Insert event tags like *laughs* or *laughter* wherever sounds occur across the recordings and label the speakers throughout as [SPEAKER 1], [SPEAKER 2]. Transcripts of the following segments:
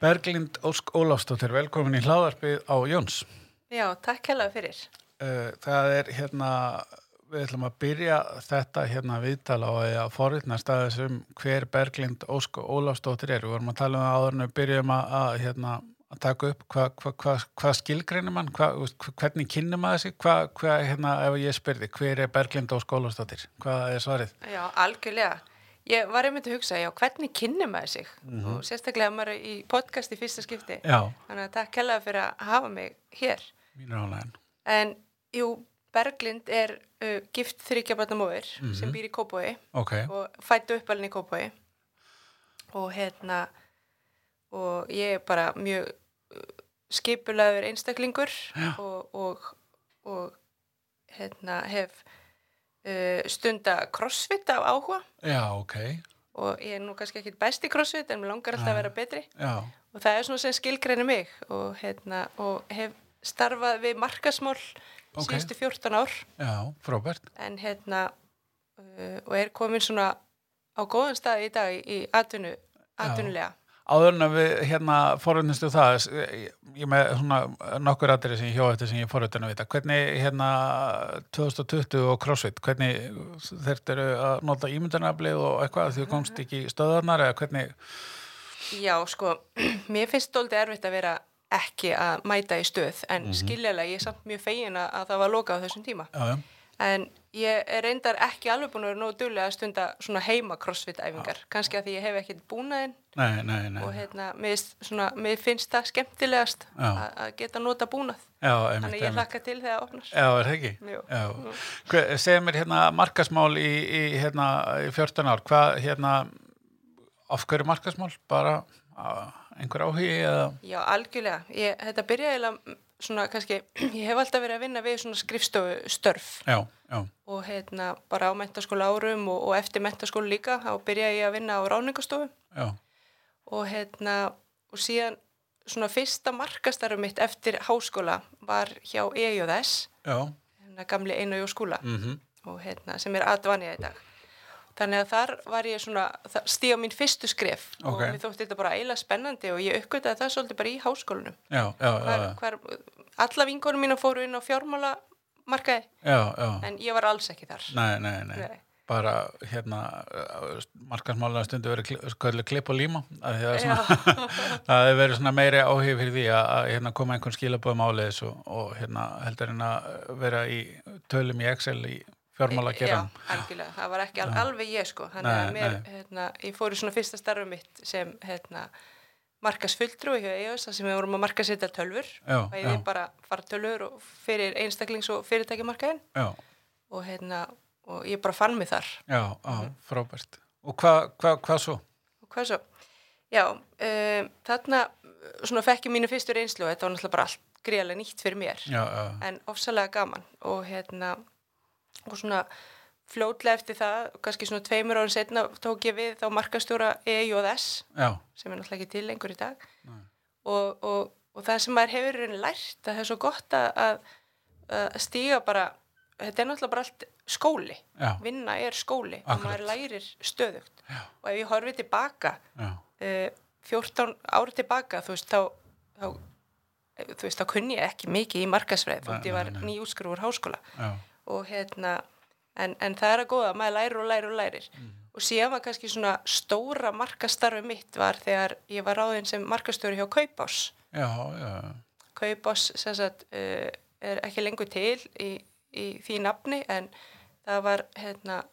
[SPEAKER 1] Berglind Ósk Ólafsdóttir, velkomin í hláðarpið á Jóns.
[SPEAKER 2] Já, takk hella fyrir.
[SPEAKER 1] Eh, Það er hérna, við ætlum að byrja þetta hérna viðtala á því að forritna staðis um hver Berglind Ósk Ólafsdóttir er. Við vorum að tala um það áður en við byrjum að, að, hérna, að taka upp hvað hva, hva, hva skilgreinir mann, hva, þú veist, hva- hvernig kynna maður sig, hvað hva, hérna, ef ég spyrði, hver er Berglind Ósk Ólafsdóttir? Hvað er svarið?
[SPEAKER 2] Já, algjörlega. Ég var einmitt að hugsa, já, hvernig kynni maður sig? Og sérstaklega ef maður er í podcast í fyrsta skipti.
[SPEAKER 1] Já,
[SPEAKER 2] Þannig að takk hella fyrir að hafa mig hér.
[SPEAKER 1] mínur álæðin.
[SPEAKER 2] En, jú, Berglind er uh, gift þryggjabarnamóður sem býr í Kópói
[SPEAKER 1] Ok,
[SPEAKER 2] og fættu uppalinn í Kópói. Og hérna, og ég er bara mjög uh, skipulaður einstaklingur og, og, og hérna, hef uh, stunda crossfit af áhuga
[SPEAKER 1] já, ok,
[SPEAKER 2] og ég er nú kannski ekkit best í crossfit en mér langar alltaf að vera betri
[SPEAKER 1] já,
[SPEAKER 2] og það er svona sem skilgreinu mig og, hérna, og hef starfað við markasmól
[SPEAKER 1] Ok.
[SPEAKER 2] síðustu 14 ár
[SPEAKER 1] já, frábært.
[SPEAKER 2] en hérna uh, og er komin svona á góðan stað í dag í, í atvinnu, atvinnulega
[SPEAKER 1] Áður en að við hérna forutnustu það, s- ég, ég með svona nokkur aðrið sem ég hjá eftir sem ég forutun að vita, hvernig hérna 2020 og CrossFit, hvernig þeir eru að nota ímyndunaflið og eitthvað
[SPEAKER 2] Mhm.
[SPEAKER 1] því þú komst ekki í stöðarnar eða hvernig,
[SPEAKER 2] Já, sko, *clears throat* mér finnst stóldi erfitt að vera ekki að mæta í stöð en
[SPEAKER 1] Mhm.
[SPEAKER 2] mm ég er samt mjög fegin að að það var lokað á þessum tíma
[SPEAKER 1] já, já,
[SPEAKER 2] En ég er reyndar ekki alveg búin að vera nógu duglega að stunda svona heima crossfit-æfingar. Kannski að því ég hef ekkert búnaðinn
[SPEAKER 1] nei, nei, nei,
[SPEAKER 2] og hérna, mér, finnst svona, mér finnst það skemmtilegast
[SPEAKER 1] Já.
[SPEAKER 2] að að geta nota búnað.
[SPEAKER 1] já, einmitt,
[SPEAKER 2] Þannig að ég
[SPEAKER 1] einmitt.
[SPEAKER 2] hlakka til þegar það opnar.
[SPEAKER 1] Já, er það ekki?
[SPEAKER 2] Jú.
[SPEAKER 1] Já. Hver, segir mér hérna markasmál í, í, hérna, í 14 ár, hvað hérna, af hverju markasmál, bara á, einhver áhugi eða,
[SPEAKER 2] Já, algjörlega. Ég, þetta byrjaði eiginlega svona kannski, *clears throat* ég hef alltaf verið að vinna við svona skrifstofu störf
[SPEAKER 1] já, já,
[SPEAKER 2] og hérna bara á mentaskóla árum og, og eftir mentaskóla líka þá byrjaði ég að vinna á ráningastofu
[SPEAKER 1] já,
[SPEAKER 2] og hérna og síðan svona fyrsta markastarum mitt eftir háskóla var hjá EJS,
[SPEAKER 1] já.
[SPEAKER 2] hérna gamli einu og skúla
[SPEAKER 1] Mhm.
[SPEAKER 2] og hérna sem er aðvanja í dag. Þannig að þar var ég svona, stíða mín fyrstu skref og
[SPEAKER 1] Ókei.
[SPEAKER 2] mér þótti þetta bara eiginlega spennandi og ég uppgötaði það svolítið bara í háskólanum.
[SPEAKER 1] Já, já, já, já,
[SPEAKER 2] Hvar, hvar, alla vinkonum mína fóru inn á fjármálamarkaði
[SPEAKER 1] já, já.
[SPEAKER 2] en ég var alls ekki þar.
[SPEAKER 1] Nei, nei, nei,
[SPEAKER 2] Nei.
[SPEAKER 1] Bara hérna, markarsmálega stundu verið kli- kölluð klipp og líma. að því Það er svona, *laughs* það hefur verið svona meiri áhif fyrir því að, að hérna, koma einhvern skilabóðum áleiðis og, og hérna, heldur en að vera í tölum í Excel í fjármála
[SPEAKER 2] Já,
[SPEAKER 1] geran.
[SPEAKER 2] algjörlega, það var ekki al alveg ég sko þannig
[SPEAKER 1] Ah. Nei,
[SPEAKER 2] að mér,
[SPEAKER 1] nei.
[SPEAKER 2] hérna, ég fór í svona fyrsta starfum mitt sem, hérna markasfulltrú hjá EOS, þar sem við vorum að markasetja tölfur,
[SPEAKER 1] Já,
[SPEAKER 2] bæði
[SPEAKER 1] já.
[SPEAKER 2] bara fara tölfur og fyrir einstaklings og fyrirtækjumarkaðin
[SPEAKER 1] Já,
[SPEAKER 2] og hérna, og ég bara fann mig þar
[SPEAKER 1] já, já,
[SPEAKER 2] Mhm.
[SPEAKER 1] frábært. Og hvað hva, hva svo?
[SPEAKER 2] og hvað svo? Já, um, þarna uh, svona fekk ég mínu fyrstu reynslu og þetta var náttúrulega bara allt greiðlega nýtt fyrir mér
[SPEAKER 1] Já, já,
[SPEAKER 2] en ofsalega gaman og hérna og svona fljótlega eftir það kannski svona tveimur árum setna tók ég við þá markastjóra EJS
[SPEAKER 1] já,
[SPEAKER 2] sem er náttúrulega ekki til lengur í dag og, og, og það sem maður hefur í rauninni lært að það er svo gott að, að, að stíga bara þetta er náttúrulega bara allt skóli
[SPEAKER 1] já,
[SPEAKER 2] vinna er skóli og
[SPEAKER 1] Akkurat.
[SPEAKER 2] maður lærir stöðugt Já. og ef ég horfi tilbaka
[SPEAKER 1] já,
[SPEAKER 2] uh, 14 ári tilbaka þú veist þá, þá eh, þú veist þá kunni ég ekki mikið í markasfræði
[SPEAKER 1] Nei,
[SPEAKER 2] þótt ég var
[SPEAKER 1] nei, nei.
[SPEAKER 2] nýjúskrúur háskóla
[SPEAKER 1] já,
[SPEAKER 2] og hérna en, en það er að góða, maður lærir og lærir og lærir
[SPEAKER 1] Mhm.
[SPEAKER 2] og síðan var kannski svona stóra markastarfi mitt var þegar ég var ráðinn sem markastjóri hjá Kaupás
[SPEAKER 1] já, já,
[SPEAKER 2] Kaupás sem sagt uh, er ekki lengur til í, í því nafni en það var hérna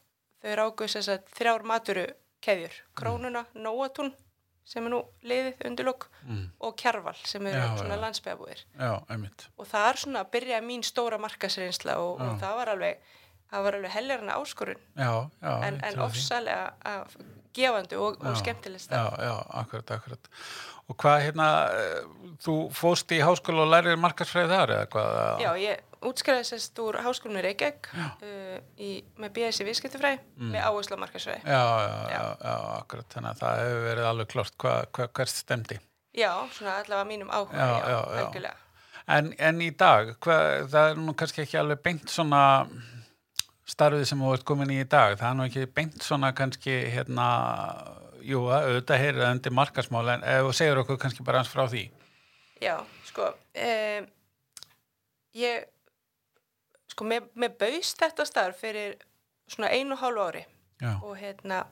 [SPEAKER 2] þau ráku sem sagt þrjár maturu keðjur,
[SPEAKER 1] Mm.
[SPEAKER 2] Krónuna, Nóatún sem er nú liðið undirlokk og Kjarval sem eru
[SPEAKER 1] Já,
[SPEAKER 2] svona
[SPEAKER 1] já.
[SPEAKER 2] landsbygðabúðir
[SPEAKER 1] mm, já, einmitt.
[SPEAKER 2] og það er svona að byrja mín stóra markasreynsla og, og það var alveg það var alveg helgarna áskorun
[SPEAKER 1] Já, já.
[SPEAKER 2] en,
[SPEAKER 1] ég trúi
[SPEAKER 2] en
[SPEAKER 1] því.
[SPEAKER 2] ofsalega að, gefandi og, og
[SPEAKER 1] Já,
[SPEAKER 2] skemmtilegst
[SPEAKER 1] Já, já, akkurat, akkurat. Og hvað hérna, eh, þú fóst í háskóla og lærið markarsfræði þar eða hvað? eða?
[SPEAKER 2] Já, ég útskrifaði sérst úr háskólinu Reykjavík uh, í, með BS í viðskiptufræði
[SPEAKER 1] Mm.
[SPEAKER 2] með áherslu á markasfræði.
[SPEAKER 1] Já, já, já, já, akkurat, þannig að það hefur verið alveg klart hva, hva, hvert stemdi.
[SPEAKER 2] Já, svona allavega mínum áhuga,
[SPEAKER 1] Já,
[SPEAKER 2] já,
[SPEAKER 1] já, já.
[SPEAKER 2] algjörlega.
[SPEAKER 1] En, en í dag, hva, það er nú kannski ekki alveg beint svona starfið sem þú ert komin í í dag það er nú ekki beint svona kannski hérna, jú, að auðvitað heyrið undir markasmál en ef þú segir okkur kannski bara hans frá því
[SPEAKER 2] Já, sko um, ég sko, mér, mér baust þetta starf fyrir svona einu og hálfu ári
[SPEAKER 1] Já,
[SPEAKER 2] og hérna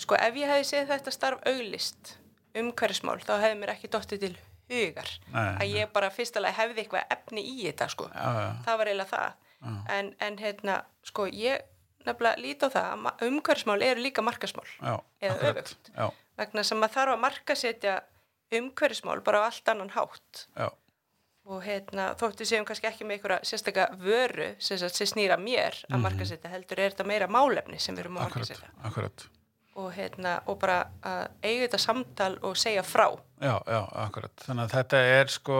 [SPEAKER 2] sko ef ég hefði séð þetta starf auglist umhverfismál þá hefði mér ekki dottið til hugar
[SPEAKER 1] Nei,
[SPEAKER 2] að ég bara fyrst alveg hefði eitthvað efni í þetta sko
[SPEAKER 1] já, já,
[SPEAKER 2] það var eiginlega það en, en hérna sko ég nefnilega líti á það að ma- umhverfismál eru líka markasmál
[SPEAKER 1] já
[SPEAKER 2] Eða
[SPEAKER 1] akkurat.
[SPEAKER 2] öfugt.
[SPEAKER 1] Já,
[SPEAKER 2] vegna sem maður þarf að markasetja umhverfismál bara á allt annan hátt
[SPEAKER 1] já,
[SPEAKER 2] og hérna, þóttu séum kannski ekki með einhverja sérstaka vöru sem, sagt, sem snýra mér að markasetja heldur er þetta meira málefni sem við erum að
[SPEAKER 1] Mhm. akkurat,
[SPEAKER 2] markasetja
[SPEAKER 1] akkurat
[SPEAKER 2] og, hérna, og bara að eiga þetta samtal og segja frá
[SPEAKER 1] Já, já, akkurat. Þannig að þetta er sko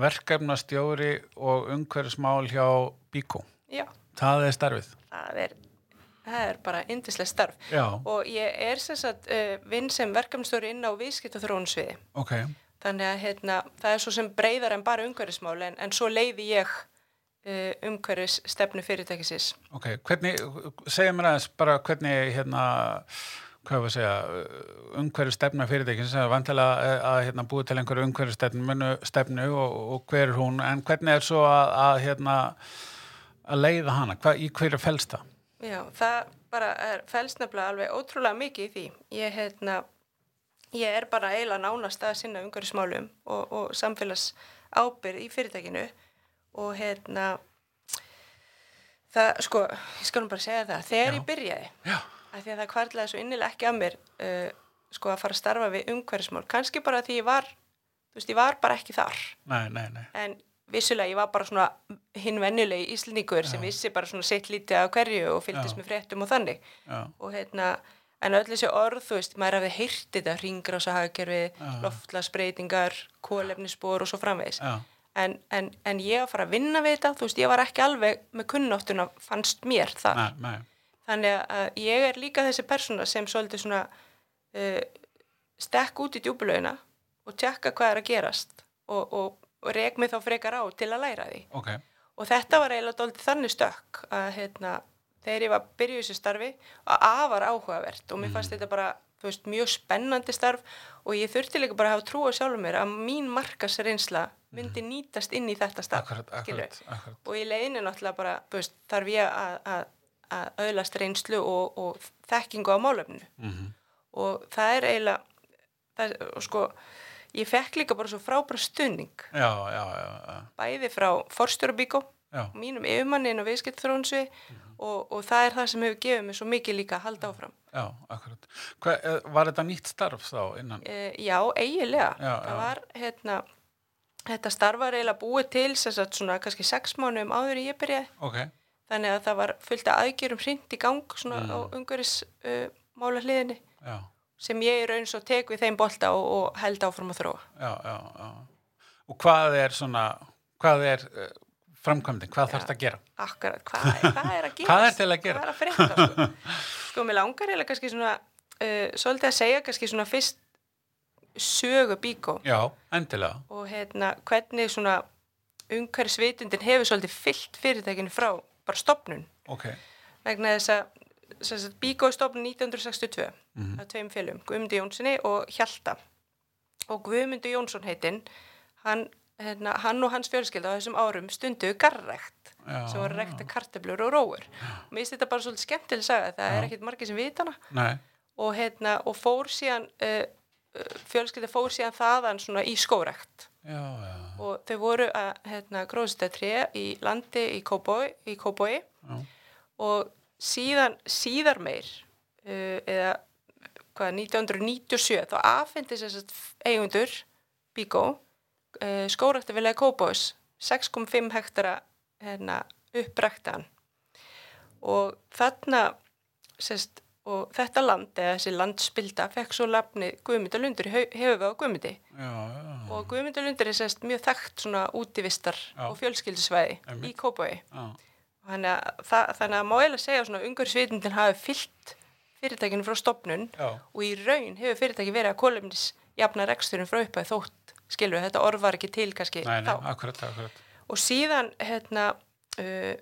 [SPEAKER 1] verkefnastjóri og umhverfismál hjá Bíkó.
[SPEAKER 2] já,
[SPEAKER 1] Það er starfið.
[SPEAKER 2] það er, það er bara yndislega starf
[SPEAKER 1] Já,
[SPEAKER 2] og ég er sem sagt uh, vinn sem verkefnstóri inn á viðskiptaþróunsviði
[SPEAKER 1] ok,
[SPEAKER 2] þannig að hérna, það er svo sem breyðar en bara umhverfismál en, en svo leiði ég uh, umhverfis stefnu fyrirtækisins
[SPEAKER 1] ok. Hvernig, segja mér aðeins bara hvernig hérna, hvað var að segja, umhverfistefna fyrirtækins, það er vantilega að hérna, búi til einhverju umhverfistefnu stefnu og, og hver er hún, en hvernig er svo að, að hérna, að leiða hana, Hva, í hverju felst það?
[SPEAKER 2] Já, það bara er felsnefla alveg ótrúlega mikið í því. Ég, hérna, ég er bara eiginlega nánast að sinna umhverfismálum og, og samfélags ábyrð í fyrirtækinu og hérna, það, sko, ég skal nú bara segja það, þegar
[SPEAKER 1] Já.
[SPEAKER 2] ég byrjaði,
[SPEAKER 1] Já,
[SPEAKER 2] af því að það kvarlaði svo innilega ekki að mér, uh, sko, að fara að starfa við umhverfismál, kannski bara því ég var, þú veist, ég var bara ekki þar
[SPEAKER 1] nei, nei, nei,
[SPEAKER 2] en vissulega ég var bara svona hinn venjulegi íslendingur sem vissi bara svona sitt lítið af hverju og fylgdist
[SPEAKER 1] Já.
[SPEAKER 2] með fréttum og þannig
[SPEAKER 1] já,
[SPEAKER 2] og hérna en öll þessi orð, þú veist, maður hafði heyrt þetta ringrásahagerfi,
[SPEAKER 1] Já.
[SPEAKER 2] loftlasbreytingar kólefnisbor og svo framvegis
[SPEAKER 1] já,
[SPEAKER 2] en, en, en ég að fara að vinna við þetta þú veist, ég var ekki alveg með kunnáttuna fannst mér það
[SPEAKER 1] nei, nei,
[SPEAKER 2] þannig að ég er líka þessi persóna sem svolítið svona uh, stekk út í djúbulögina og tjekka hvað er að gerast og, og, og rek mig þá frekar á til að læra því
[SPEAKER 1] ok,
[SPEAKER 2] og þetta var eiginlega dóldi þannig stökk að hérna, þegar ég var að byrja í þessu starfi að afar áhugavert og mér fannst þetta bara þú veist, mjög spennandi starf og ég þurfti líka bara að hafa trú á sjálfur mér að mín markasreynsla myndi nýtast inn í þetta starf
[SPEAKER 1] akkurat,
[SPEAKER 2] skilurðu
[SPEAKER 1] akkurat, akkurat.
[SPEAKER 2] og í leiðinu náttúrulega bara þú veist, þarf ég að, að, að öðlast reynslu og, og þekkingu á málefnu
[SPEAKER 1] Mhm.
[SPEAKER 2] og það er eiginlega það, og sko, ég fekk líka bara svo frábæra stunning
[SPEAKER 1] Já, já, já, já,
[SPEAKER 2] bæði frá forstjórabíkó
[SPEAKER 1] já,
[SPEAKER 2] mínum yfirmannin og viðskiptþrónsu
[SPEAKER 1] Mhm.
[SPEAKER 2] og, og það er það sem hefur gefið mér svo mikið líka að halda áfram
[SPEAKER 1] já, akkurat. Hva, eh, var þetta nýtt starf þá innan?
[SPEAKER 2] e, já, eiginlega
[SPEAKER 1] Já,
[SPEAKER 2] það
[SPEAKER 1] já.
[SPEAKER 2] var hérna þetta starf var eiginlega búið til sem sagt svona kannski sex mánuðum áður en ég byrjaði
[SPEAKER 1] Ok,
[SPEAKER 2] þannig að það var fullt af aðgjörum hrind í gang svona á
[SPEAKER 1] Mm.
[SPEAKER 2] ungaris uh, mála hliðinni
[SPEAKER 1] já,
[SPEAKER 2] sem ég er raun svo tek við þeim bolta og, og held áfram að þróa.
[SPEAKER 1] já, já, já. Og hvað er svona, hvað er eh, framkvæmdin, hvað þarfst að gera?
[SPEAKER 2] Akkurat, hvað, hvað er að gera?
[SPEAKER 1] *laughs* Hvað er til að gera?
[SPEAKER 2] Hvað er að frétta? Sko, sko mér langar eða kannski svona, uh, svolítið að segja kannski svona fyrst sögu bíkó
[SPEAKER 1] Já, endilega.
[SPEAKER 2] og hérna hvernig svona umhverfisvitundin hefur svolítið fyllt fyrirtækinu frá bara stopnun
[SPEAKER 1] Ok,
[SPEAKER 2] vegna þess að sem sagt, Bíkó er stofn 1962 af tveim félum, Guðmundur Jónssoni og Hjalta og Guðmundur Jónsson heitinn hann, hérna, hann og hans fjölskylda á þessum árum stunduðu garrækt
[SPEAKER 1] já.
[SPEAKER 2] sem voru rækta karteblur og róur og mér finnst þetta bara svolítið skemmtileg saga það er ekkert margir sem vita hana
[SPEAKER 1] Nei,
[SPEAKER 2] og, hérna, og fór síðan uh, fjölskylda fór síðan þaðan svona í skórækt
[SPEAKER 1] já, já,
[SPEAKER 2] og þau voru að hérna, gróðsita tré í landi í Kóboi, í Kóboi
[SPEAKER 1] já,
[SPEAKER 2] og síðan, síðar meir uh, eða hvað, 1997 þá afhendis þess að eigundur Bíkó uh, skóræktafilega Kóbós 6,5 hektara hérna, uppræktan og þarna sest, og þetta land eða þessi landspilda fekk svo lafni Guðmyndalundur hefur við á Guðmyndi
[SPEAKER 1] já, já,
[SPEAKER 2] og Guðmyndalundur er sest, mjög þekkt svona útivistar
[SPEAKER 1] Já.
[SPEAKER 2] og fjölskyldisvæði
[SPEAKER 1] Einmitt.
[SPEAKER 2] í Kóbói
[SPEAKER 1] já.
[SPEAKER 2] þannig að, það, þannig að má eiginlega segja svona umhverfisvitundin hafi fyllt fyrirtækinu frá stopnun
[SPEAKER 1] Já,
[SPEAKER 2] og í raun hefur fyrirtæki verið að kolumnis jafna reksturinn frá upphæð þótt skilur þetta orð var ekki til kannski
[SPEAKER 1] nei, nei,
[SPEAKER 2] þá
[SPEAKER 1] akkurat, akkurat.
[SPEAKER 2] og síðan hérna uh,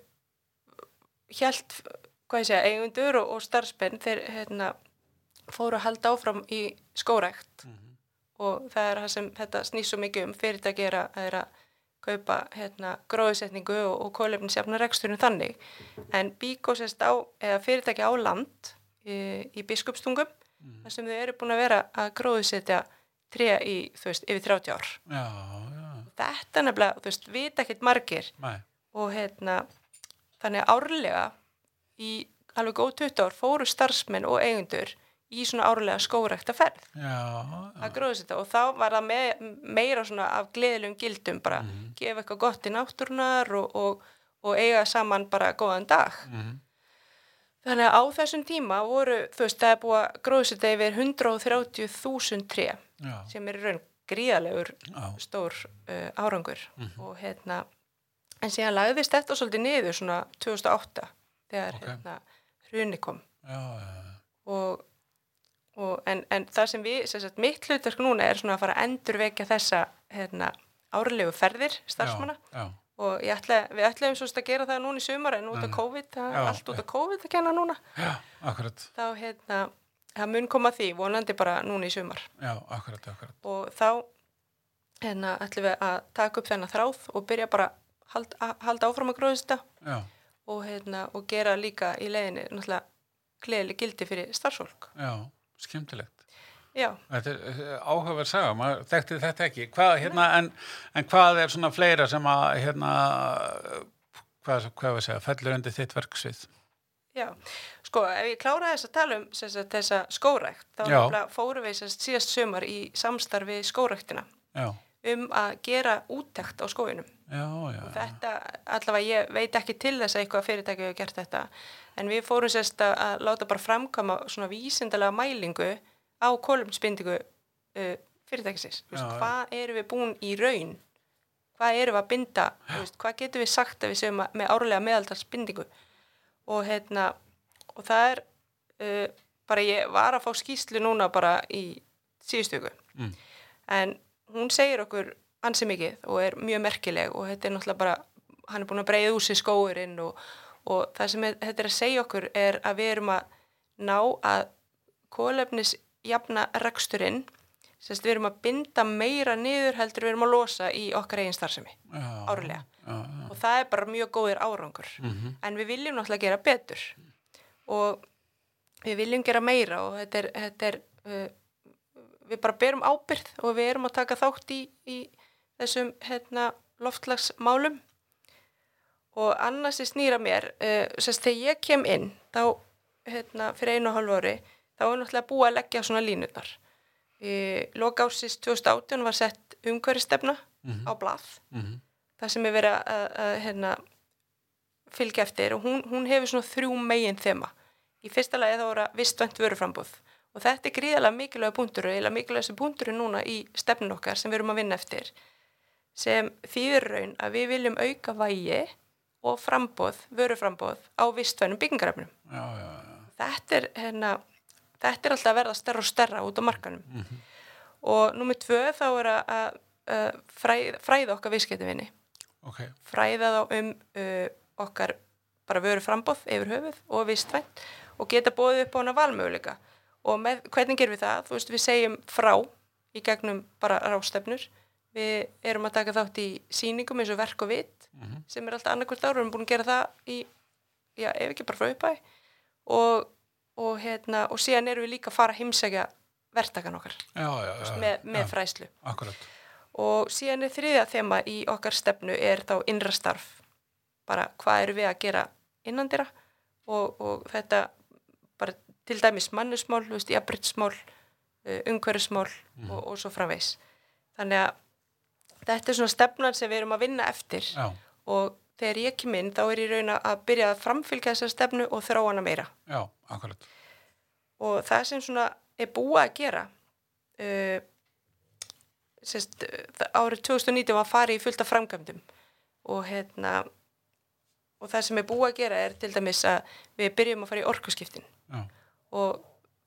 [SPEAKER 2] hjælt, hvað ég segja, eigundur og, og starfspenn þeir hérna, fóru að halda áfram í skórækt og það er það sem þetta snýst svo mikið um fyrirtæki er að, er að kaupa hérna, gróðusetningu og, og kólefnisjafna reksturinn þannig en Bíkó sérst á, eða fyrirtæki á land í, í biskupstungum þar sem þau eru búin að vera að gróðusetja tré í, þú veist, yfir 30 ár
[SPEAKER 1] já, já,
[SPEAKER 2] þetta nefnilega, þú veist, vita ekkert margir
[SPEAKER 1] mæ,
[SPEAKER 2] og hérna þannig að árlega í alveg góð 20 ár fóru starfsmenn og eigendur í svona árlega skórekta ferð
[SPEAKER 1] já,
[SPEAKER 2] að gróðsita og þá var það með, meira svona af gleðilegum gildum bara gefa eitthvað gott í náttúrunar og, og, og eiga saman bara góðan dag
[SPEAKER 1] Mhm.
[SPEAKER 2] þannig að á þessum tíma voru þú veist það er búið að gróðsita yfir 130.000 tré
[SPEAKER 1] já,
[SPEAKER 2] sem er í raun gríðalegur
[SPEAKER 1] já, mhm.
[SPEAKER 2] stór uh, árangur og hérna en síðan lagðist þetta svolítið niður svona 2008 þegar
[SPEAKER 1] Ok.
[SPEAKER 2] hérna hruni kom
[SPEAKER 1] já, já,
[SPEAKER 2] og, og en, en það sem við sem sagt, mitt hlutverk núna er svona að fara að endurvekja þessa hérna, árlegu ferðir starfsmanna
[SPEAKER 1] já,
[SPEAKER 2] og ég ætla, við ætlaum svo að gera það núna í sumar en út af COVID, það,
[SPEAKER 1] Mm. Já,
[SPEAKER 2] allt út af COVID að kenna núna,
[SPEAKER 1] já, akkurat,
[SPEAKER 2] þá hérna það mun koma að því, vonandi bara núna í sumar
[SPEAKER 1] já, akkurat, akkurat,
[SPEAKER 2] og þá hérna, ætlum við að taka upp þennan þráð og byrja bara að hald, að halda áfram að gróðast þetta
[SPEAKER 1] já,
[SPEAKER 2] og, hérna, og gera líka í leiðinni náttúrulega gleðileg gildi fyrir starfsfólk.
[SPEAKER 1] já, skemmtilegt.
[SPEAKER 2] Já,
[SPEAKER 1] Þetta er eh, áhugaverð saga, maður þekkti þetta ekki. Hvað, hérna, en, en hvað er svona fleira sem að, hérna, hvað, hvað var að segja, fellur undir þitt verksvið?
[SPEAKER 2] já. Sko, ef ég klára þess að tala um sem sagt, þessa skórækt, þá
[SPEAKER 1] Já.
[SPEAKER 2] nefnilega fórum við sem sagt, síðast sömar í samstarfi skóræktina
[SPEAKER 1] Já,
[SPEAKER 2] um að gera úttekt á skóinum.
[SPEAKER 1] já, já,
[SPEAKER 2] Þetta, allavega ég veit ekki til þess að eitthvað fyrirtæki hefur gert þetta, en við fórum sérst að, að láta bara framkama svona vísindalega mælingu á kolumnsbindingu uh, fyrirtækisins. Þú veist,
[SPEAKER 1] Já, já.
[SPEAKER 2] hvað erum við búin í raun? Hvað erum við að binda? Þú Veist, hvað getum við sagt að við séum að, með árlega meðaldarsbindingu? Og, hérna, og það er, uh, bara ég var að fá skýslu núna bara í síðustu ykkur
[SPEAKER 1] Mm.
[SPEAKER 2] en hún segir okkur ansi mikið og er mjög merkileg og þetta er náttúrulega bara, hann er búin að breyða úr sér skóurinn og, og það sem er- þetta er að segja okkur er að við erum að ná að kólefnisjafna reksturinn sérst við erum að binda meira niður heldur við erum að losa í okkar eigin starfsemi
[SPEAKER 1] já,
[SPEAKER 2] árlega
[SPEAKER 1] já, já,
[SPEAKER 2] og það er bara mjög góðir árangur
[SPEAKER 1] mhm,
[SPEAKER 2] en við viljum náttúrulega gera betur og við viljum gera meira og þetta er, þetta er uh, við bara berum ábyrð og við erum að taka þátt í, í þessum hérna, loftlagsmálum og annars er snýra mér uh, sérst þegar ég kem inn þá hérna, fyrir einu og hálfu ári þá er náttúrulega búið að leggja svona línurnar uh, loka ásins 2018 var sett umhverjastefna á blað
[SPEAKER 1] mhm,
[SPEAKER 2] það sem er verið að, að, að hérna, fylgja eftir og hún, hún hefur svona þrjú megin þema. Í fyrsta lagi þá er að vistvænt vöruframbúð og þetta er gríðalega mikilvæg punktur og eiginlega mikilvægstu punktur núna í stefnun okkar sem við erum að vinna eftir sem þýður raun að við viljum auka vægi og frambóð, vöruframbóð á vistvænum byggingaröfnum.
[SPEAKER 1] já, já, já,
[SPEAKER 2] Þetta er, hérna, þetta er alltaf að verða stærra og stærra út á markanum og nummið tvö þá er að, að, að fræð, fræða okkar viðskiptavinni
[SPEAKER 1] ok,
[SPEAKER 2] fræða þá um uh, okkar bara vöru frambóð yfir höfuð og vistvænt og geta bóðið upp á hana valmöguleika og með, hvernig gerum við það? Þú veist, við segjum frá í gegnum bara rástefnur við erum að taka þátt í sýningum eins og verk og vit
[SPEAKER 1] mhm,
[SPEAKER 2] sem er alltaf annarkvöld ára, við erum búin að gera það í, já, ef ekki bara frá uppæði og, og hérna og síðan erum við líka að fara að heimsækja verktakan okkar
[SPEAKER 1] já, já, já,
[SPEAKER 2] með, með
[SPEAKER 1] já,
[SPEAKER 2] fræslu
[SPEAKER 1] akkurat,
[SPEAKER 2] og síðan er þriðja þema í okkar stefnu er þá innra starf bara hvað eru við að gera innandira og, og þetta bara til dæmis mannusmál, þú veist, jafnbryttsmál umhverfismál og, og svo framvegs þannig að þetta er svona stefnan sem við erum að vinna eftir
[SPEAKER 1] já,
[SPEAKER 2] og þegar ég kem inn þá er ég raun að byrja að framfylgja þessar stefnu og þrá hana meira
[SPEAKER 1] já, akkurat,
[SPEAKER 2] og það sem svona er búið að gera uh, sérst, uh, það- árið 2019 var farið í fullta framkvæmdum og hérna og það sem er búið að gera er til dæmis að við byrjum að fara í orkuskiptin
[SPEAKER 1] já,
[SPEAKER 2] og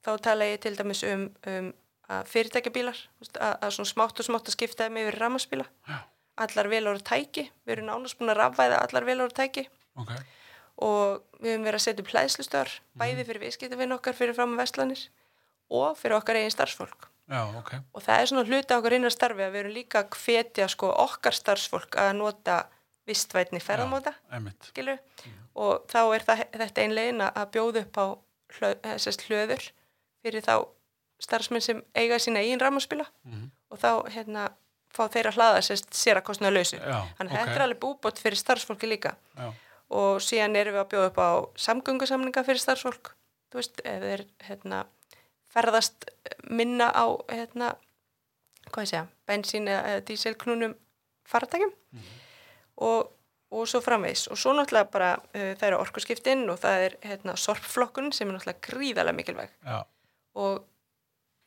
[SPEAKER 2] þá tala ég til dæmis um, um að fyrirtækjabílar þú veist, að, að svona smátt og smátt að skipta þeim yfir rammaspíla
[SPEAKER 1] Já.
[SPEAKER 2] allar vel ára tæki við erum nánast búin að rafvæða allar vel ára tæki
[SPEAKER 1] ok,
[SPEAKER 2] og við höfum verið að setja upp hlæðslustöðar
[SPEAKER 1] Mhm.
[SPEAKER 2] bæði fyrir viðskiptavinn okkar fyrir fram að vestlanir og fyrir okkar eigin starfsfólk
[SPEAKER 1] já, ok.
[SPEAKER 2] og það er svona hluti af okkar innar starfi að við erum líka að hvetja sko okkar starfsfólk að nota vistvætni ferðamóta
[SPEAKER 1] Einmitt.
[SPEAKER 2] skilu
[SPEAKER 1] Mhm.
[SPEAKER 2] og þá er það, þetta einlegin að bjóða upp á hlöð, sest, hlöður fyrir þá starfsmenn sem eiga sína eigin rammarspila
[SPEAKER 1] Mhm.
[SPEAKER 2] og þá hérna fá þeir að hlaða sest, sér að kostnaða lausu
[SPEAKER 1] Já,
[SPEAKER 2] þannig
[SPEAKER 1] ok.
[SPEAKER 2] að þetta er alveg búbót fyrir starfsfólki líka
[SPEAKER 1] Já,
[SPEAKER 2] og síðan erum við að bjóða upp á samgöngusamninga fyrir starfsfólk þú veist, ef þeir hérna, ferðast minna á hérna, hvað ég segja, bensín eða eða dísilknúnum fartækjum og, og svo framvegis og svo náttúrulega bara uh, það eru orkuskiptin og það er hérna, sorpflokkun sem er náttúrulega gríðarlega mikilvæg
[SPEAKER 1] já,
[SPEAKER 2] og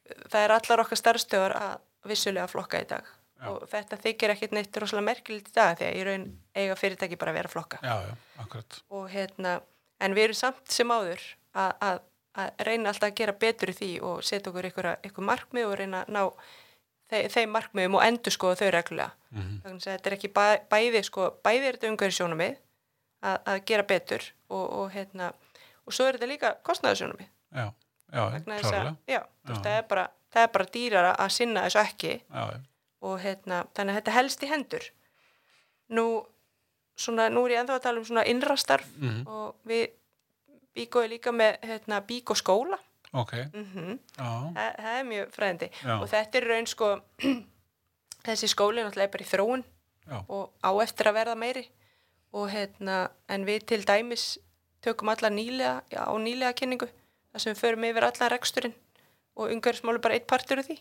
[SPEAKER 2] eh, það er allar okkar starfstöðar að vissulega flokka í dag
[SPEAKER 1] Já.
[SPEAKER 2] og þetta þykir ekkit neitt rosalega merkilegt í dag því að í raun eiga fyrirtæki bara að vera að flokka
[SPEAKER 1] já, já, akkurat.
[SPEAKER 2] og hérna, en við erum samt sem áður að, að, að reyna alltaf að gera betur í því og setja okkur ykkur, ykkur markmið og reyna að ná þe þeim markmiðum og endur skoða þau reglulega.
[SPEAKER 1] Mm -hmm.
[SPEAKER 2] Þannig að þetta er ekki bæ, bæði, sko, bæði er þetta umhverju sjónumið að, að gera betur og, og hérna, og svo er þetta líka kostnaðarsjónumið.
[SPEAKER 1] Já, já,
[SPEAKER 2] Vegna þess að,
[SPEAKER 1] klárlega.
[SPEAKER 2] já, þú
[SPEAKER 1] Já.
[SPEAKER 2] veist, það er bara, það er bara dýrara að sinna þessu ekki
[SPEAKER 1] Já, já,
[SPEAKER 2] og hérna, þannig að þetta helst í hendur nú svona, nú er ég ennþá að tala um svona innrastarf
[SPEAKER 1] Mhm.
[SPEAKER 2] og við bíkói líka með hérna, bíkóskóla
[SPEAKER 1] ok,
[SPEAKER 2] mm
[SPEAKER 1] já,
[SPEAKER 2] það, það er mjög fræðandi
[SPEAKER 1] Já.
[SPEAKER 2] og þetta er raun sko *clears throat* þessi skóli náttúrulega er bara í þróun
[SPEAKER 1] Já.
[SPEAKER 2] og á eftir að verða meiri og hérna, en við til dæmis tökum alla nýlega já, á nýlega kynningu, þar sem við förum yfir allan reksturinn og umhverfismál er bara eitt partur af því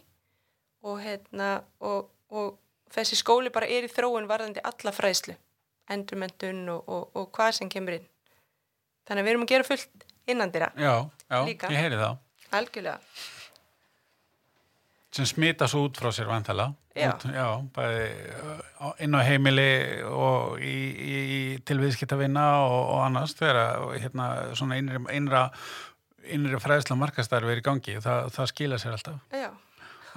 [SPEAKER 2] og hérna, og, og þessi skóli bara er í þróun varðandi alla fræðslu endurmentun og, og, og hvað sem kemur inn þannig að við erum að gera fullt innan dýra,
[SPEAKER 1] já, já,
[SPEAKER 2] Líka.
[SPEAKER 1] ég heyri það.
[SPEAKER 2] algjörlega
[SPEAKER 1] Sem smita svo út frá sér vantalega.
[SPEAKER 2] Já.
[SPEAKER 1] Út, já, bæði uh, á- inn á heimili og í, í, í tilviðskiptavinna og, og annars þegar að, hérna, svona innri, innra, innri fræðsla markastarfi er í gangi. Það, það skila sér alltaf,
[SPEAKER 2] já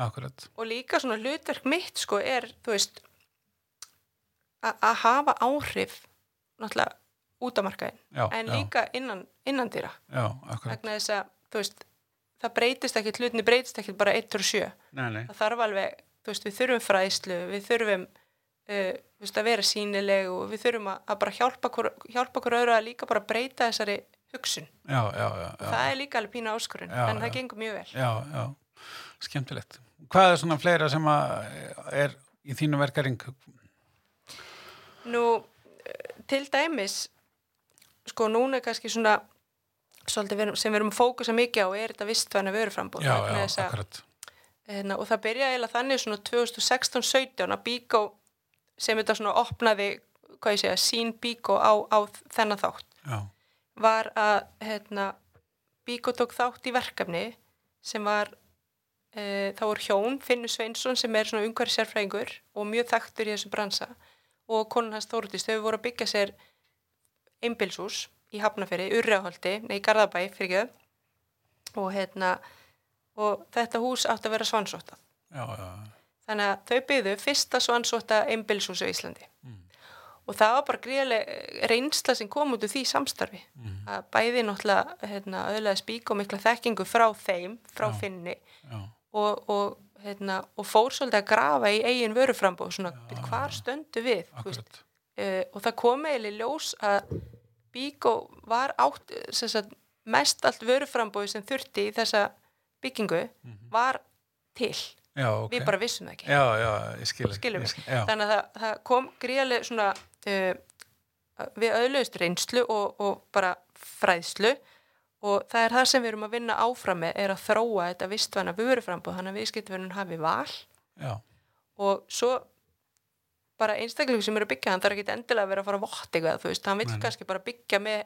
[SPEAKER 1] akkurat.
[SPEAKER 2] og líka svona hlutverk mitt sko er, þú veist a- að hafa áhrif náttúrulega út af markaðin
[SPEAKER 1] Já,
[SPEAKER 2] en
[SPEAKER 1] já,
[SPEAKER 2] líka innan, innan dýra
[SPEAKER 1] já, akkurat.
[SPEAKER 2] vegna þess að, þú veist það breytist ekkit, hlutinni breytist ekkit bara 1 og 7
[SPEAKER 1] Nei, nei,
[SPEAKER 2] það þarf alveg, þú veist, við þurfum fræðslu við þurfum uh, þú veist, að vera sínileg og við þurfum að, að bara hjálpa hver, hjálpa hver öðru að líka bara breyta þessari hugsun,
[SPEAKER 1] já, já, já. já.
[SPEAKER 2] það er líka alveg pína áskurinn,
[SPEAKER 1] Já,
[SPEAKER 2] en það
[SPEAKER 1] já.
[SPEAKER 2] gengur mjög vel
[SPEAKER 1] Já, já, skemmtilegt. Hvað er svona fleira sem að er í þínu verkaring?
[SPEAKER 2] Nú, eh, til dæmis, sko núna er kannski svona, svolítið við erum- sem við erum að fókusa mikið á, er þetta vistvæna vöruframbúð.
[SPEAKER 1] Já,
[SPEAKER 2] vegna
[SPEAKER 1] já,
[SPEAKER 2] þess að-
[SPEAKER 1] akkurat.
[SPEAKER 2] Hérna, og það byrjaði eiginlega þannig svona 2016-17 að Bíkó, sem þetta svona opnaði, hvað ég segja, sín Bíkó á, á þennan þátt,
[SPEAKER 1] Já,
[SPEAKER 2] var að hérna, Bíkó tók þátt í verkefni sem var, e, þá voru hjón, Finnur Sveinsson sem er svona ungar sérfræðingur og mjög þekktur í þessu bransa og konun hans Þórdís, þau voru að byggja sér einbilshús í Hafnafyrri, Urreaholti, nei, Garðabæ, fyrir ekki og hérna og þetta hús átti að vera svansóttað
[SPEAKER 1] já, já,
[SPEAKER 2] þannig að þau byggðu fyrsta svansótta einbilshús á Íslandi
[SPEAKER 1] Mm.
[SPEAKER 2] og það var bara gríðarlega reynsla sem kom út úr því samstarfi
[SPEAKER 1] Mhm.
[SPEAKER 2] að bæði náttúrulega hérna, öðlega spík og mikla þekkingu frá þeim, frá
[SPEAKER 1] Já.
[SPEAKER 2] finni
[SPEAKER 1] já,
[SPEAKER 2] og, og, hérna, og fór svolítið að grafa í eigin vöruframbóð, svona
[SPEAKER 1] Já.
[SPEAKER 2] hvar stöndu við, þú veist,
[SPEAKER 1] akkurat.
[SPEAKER 2] uh, og það kom eiginlega í ljós að Bíkó var átt eh, sem sagt, mest allt vöruframbóði sem þurfti í þessa byggingu var til
[SPEAKER 1] Já, Mhm. ok.
[SPEAKER 2] við bara vissum það ekki
[SPEAKER 1] Já, já, ég skil.
[SPEAKER 2] Skilur
[SPEAKER 1] ég
[SPEAKER 2] mig.
[SPEAKER 1] skil- Já,
[SPEAKER 2] þannig að það, það kom gríðarlega svona uh, við öðluðust reynslu og, og bara fræðslu og það er það sem við erum að vinna áfram með er að þróa þetta vistvæna vöruframbóð þannig að viðskiptverðin hafi val
[SPEAKER 1] já,
[SPEAKER 2] og svo bara einstaklingur sem eru að byggja hann þarf ekki endilega að vera að fara að votta eitthvað þú veist, hann vil
[SPEAKER 1] Nei, nei.
[SPEAKER 2] kannski bara byggja með